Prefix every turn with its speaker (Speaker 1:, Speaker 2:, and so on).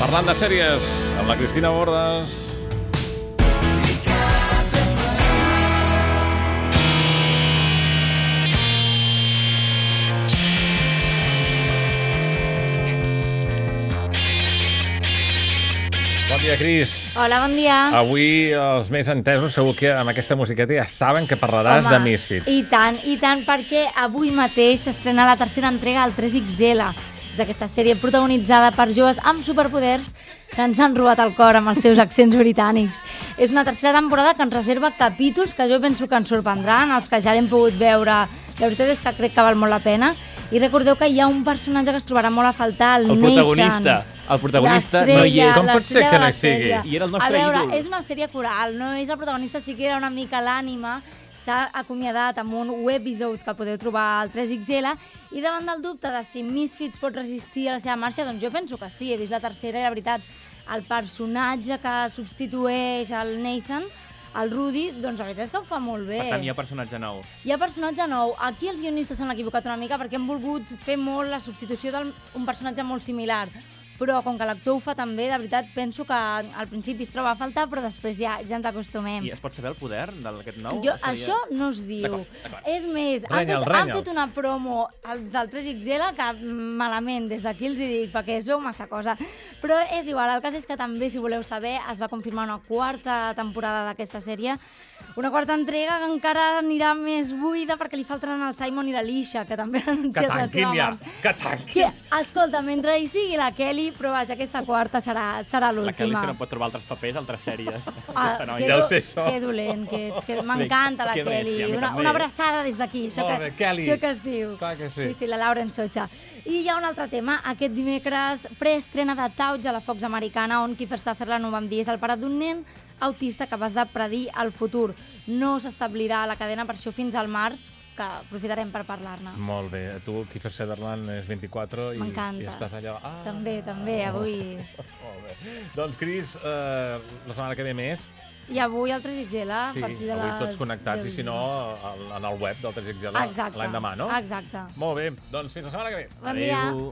Speaker 1: Parlant de sèries, amb la Cristina Bordes. Bon dia, Cris.
Speaker 2: Hola, bon dia.
Speaker 1: Avui els més entesos segur que amb aquesta musiqueta ja saben que parlaràs de Misfits.
Speaker 2: I tant, i tant, perquè avui mateix s'estrena la tercera entrega al 3XL. És aquesta sèrie protagonitzada per joves amb superpoders que ens han robat el cor amb els seus accents britànics. És una tercera temporada que ens reserva capítols que jo penso que ens sorprendran, els que ja l'hem pogut veure. La veritat és que crec que val molt la pena. I recordeu que hi ha un personatge que es trobarà molt a faltar, el,
Speaker 3: El
Speaker 2: Nathan.
Speaker 3: protagonista. El protagonista
Speaker 2: L'estrella,
Speaker 3: no hi és.
Speaker 1: Com pot ser
Speaker 2: l'estrella
Speaker 1: que
Speaker 2: de
Speaker 1: no
Speaker 2: la
Speaker 1: hi sigui?
Speaker 2: sèrie.
Speaker 3: I era el nostre
Speaker 2: A veure,
Speaker 3: ídol.
Speaker 2: és una sèrie coral, no és el protagonista, sí que era una mica l'ànima, s'ha acomiadat amb un webisode que podeu trobar al 3XL i davant del dubte de si Misfits pot resistir a la seva marxa, doncs jo penso que sí, he vist la tercera i la veritat, el personatge que substitueix el Nathan, el Rudy, doncs la veritat és que ho fa molt bé.
Speaker 3: Per tant, hi ha personatge nou.
Speaker 2: Hi ha personatge nou. Aquí els guionistes s'han equivocat una mica perquè han volgut fer molt la substitució d'un personatge molt similar. Però com que l'actor ho fa també, de veritat, penso que al principi es troba a falta, però després ja, ja ens acostumem.
Speaker 3: I es pot saber el poder d'aquest nou?
Speaker 2: Jo,
Speaker 3: ja-
Speaker 2: això no es diu.
Speaker 3: D'acord, d'acord.
Speaker 2: És més, han
Speaker 1: Renya'l,
Speaker 2: fet, han
Speaker 1: renya'l.
Speaker 2: fet una promo al- del 3XL que mm, malament, des d'aquí els hi dic, perquè es veu massa cosa. Però és igual, el cas és que també, si voleu saber, es va confirmar una quarta temporada d'aquesta sèrie, una quarta entrega que encara anirà més buida perquè li faltaran el Simon i l'Alicia, que també han
Speaker 1: Que
Speaker 2: anunciat la seva
Speaker 1: tanquin ja,
Speaker 2: marxa.
Speaker 1: que tanquin.
Speaker 2: Que, escolta, mentre hi sigui la Kelly, però vaja, aquesta quarta serà, serà
Speaker 3: La Kelly és
Speaker 2: l'última.
Speaker 3: que no pot trobar altres papers, altres sèries.
Speaker 2: Ah,
Speaker 3: Aquesta
Speaker 2: que,
Speaker 3: noia.
Speaker 1: deu
Speaker 2: do-
Speaker 1: ser això.
Speaker 2: que dolent que ets, que m'encanta la
Speaker 3: Que dolent, sí,
Speaker 2: Kelly.
Speaker 3: a mi
Speaker 2: Una,
Speaker 3: també.
Speaker 2: una abraçada des d'aquí, això,
Speaker 4: Molt
Speaker 2: que,
Speaker 4: bé, Kelly.
Speaker 2: això que es diu.
Speaker 4: Clar que sí.
Speaker 2: sí, sí, la Laura en Socha. I hi ha un altre tema, aquest dimecres preestrena de Tauge a la Fox Americana, on Kiefer Sutherland, ho vam dir, és el pare d'un nen autista capaç de predir el futur. No s'establirà a la cadena per això fins al març, que aprofitarem per parlar-ne.
Speaker 1: Molt bé. Tu, Kiefer Sutherland, és 24 i,
Speaker 2: M'encanta.
Speaker 1: i estàs allò... Ah,
Speaker 2: També, també, avui.
Speaker 1: Molt bé. Doncs, Cris, eh, la setmana que ve més.
Speaker 2: I avui el 3XL, a
Speaker 1: Sí,
Speaker 2: partir de
Speaker 1: avui
Speaker 2: les...
Speaker 1: tots connectats i,
Speaker 2: 10.
Speaker 1: si no, al- en el web del 3
Speaker 2: Exacte.
Speaker 1: l'any demà, no?
Speaker 2: Exacte.
Speaker 1: Molt bé, doncs fins la setmana que ve.
Speaker 2: Bon dia.
Speaker 3: Adéu.